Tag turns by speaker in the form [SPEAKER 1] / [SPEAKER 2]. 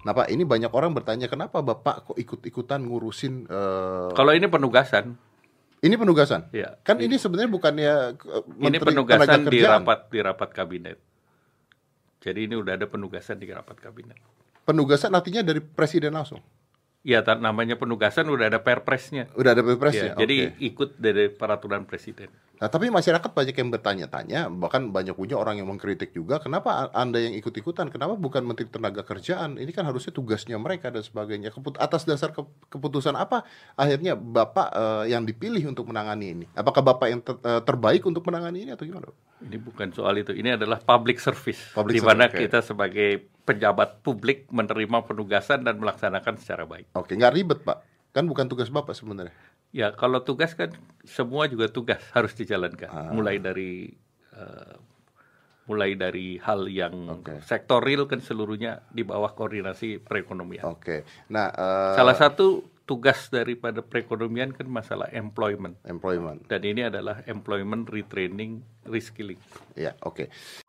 [SPEAKER 1] Kenapa? Ini banyak orang bertanya kenapa bapak kok ikut-ikutan ngurusin? eh,
[SPEAKER 2] Kalau ini penugasan,
[SPEAKER 1] ini penugasan.
[SPEAKER 2] ya.
[SPEAKER 1] Kan ini sebenarnya bukannya eh,
[SPEAKER 2] ini
[SPEAKER 1] Menteri
[SPEAKER 2] penugasan
[SPEAKER 1] Ketenagakerjaan.
[SPEAKER 2] di rapat di rapat kabinet. Jadi ini udah ada penugasan di rapat kabinet.
[SPEAKER 1] Penugasan artinya dari presiden langsung.
[SPEAKER 2] Ya, tar- namanya penugasan udah ada perpresnya.
[SPEAKER 1] Udah ada
[SPEAKER 2] Ya,
[SPEAKER 1] presiden.
[SPEAKER 2] Jadi ikut dari peraturan presiden.
[SPEAKER 1] Nah, tapi masyarakat banyak yang bertanya-tanya, bahkan banyak punya orang yang mengkritik juga, kenapa a- Anda yang ikut-ikutan? Kenapa bukan Menteri Tenaga Kerjaan? Ini kan harusnya tugasnya mereka dan sebagainya. Keput- atas dasar ke- keputusan apa akhirnya Bapak eh, yang dipilih untuk menangani ini? Apakah Bapak yang ter- eh, terbaik untuk menangani ini atau gimana?
[SPEAKER 2] Ini bukan soal itu. Ini adalah public service,
[SPEAKER 1] Public
[SPEAKER 2] di mana
[SPEAKER 1] service, oke.
[SPEAKER 2] kita sebagai pejabat publik menerima penugasan dan melaksanakan secara baik.
[SPEAKER 1] Oke, nggak ribet, Pak. Kan bukan tugas Bapak sebenarnya.
[SPEAKER 2] Ya, kalau tugas kan semua juga tugas harus dijalankan. Mulai dari eh, mulai dari hal yang
[SPEAKER 1] Oke.
[SPEAKER 2] sektor real kan seluruhnya di bawah koordinasi perekonomian.
[SPEAKER 1] Oke. Nah, eh,
[SPEAKER 2] Ya. Salah satu tugas daripada perekonomian kan masalah employment.
[SPEAKER 1] employment.
[SPEAKER 2] Dan ini adalah employment retraining reskilling.
[SPEAKER 1] Ya, oke.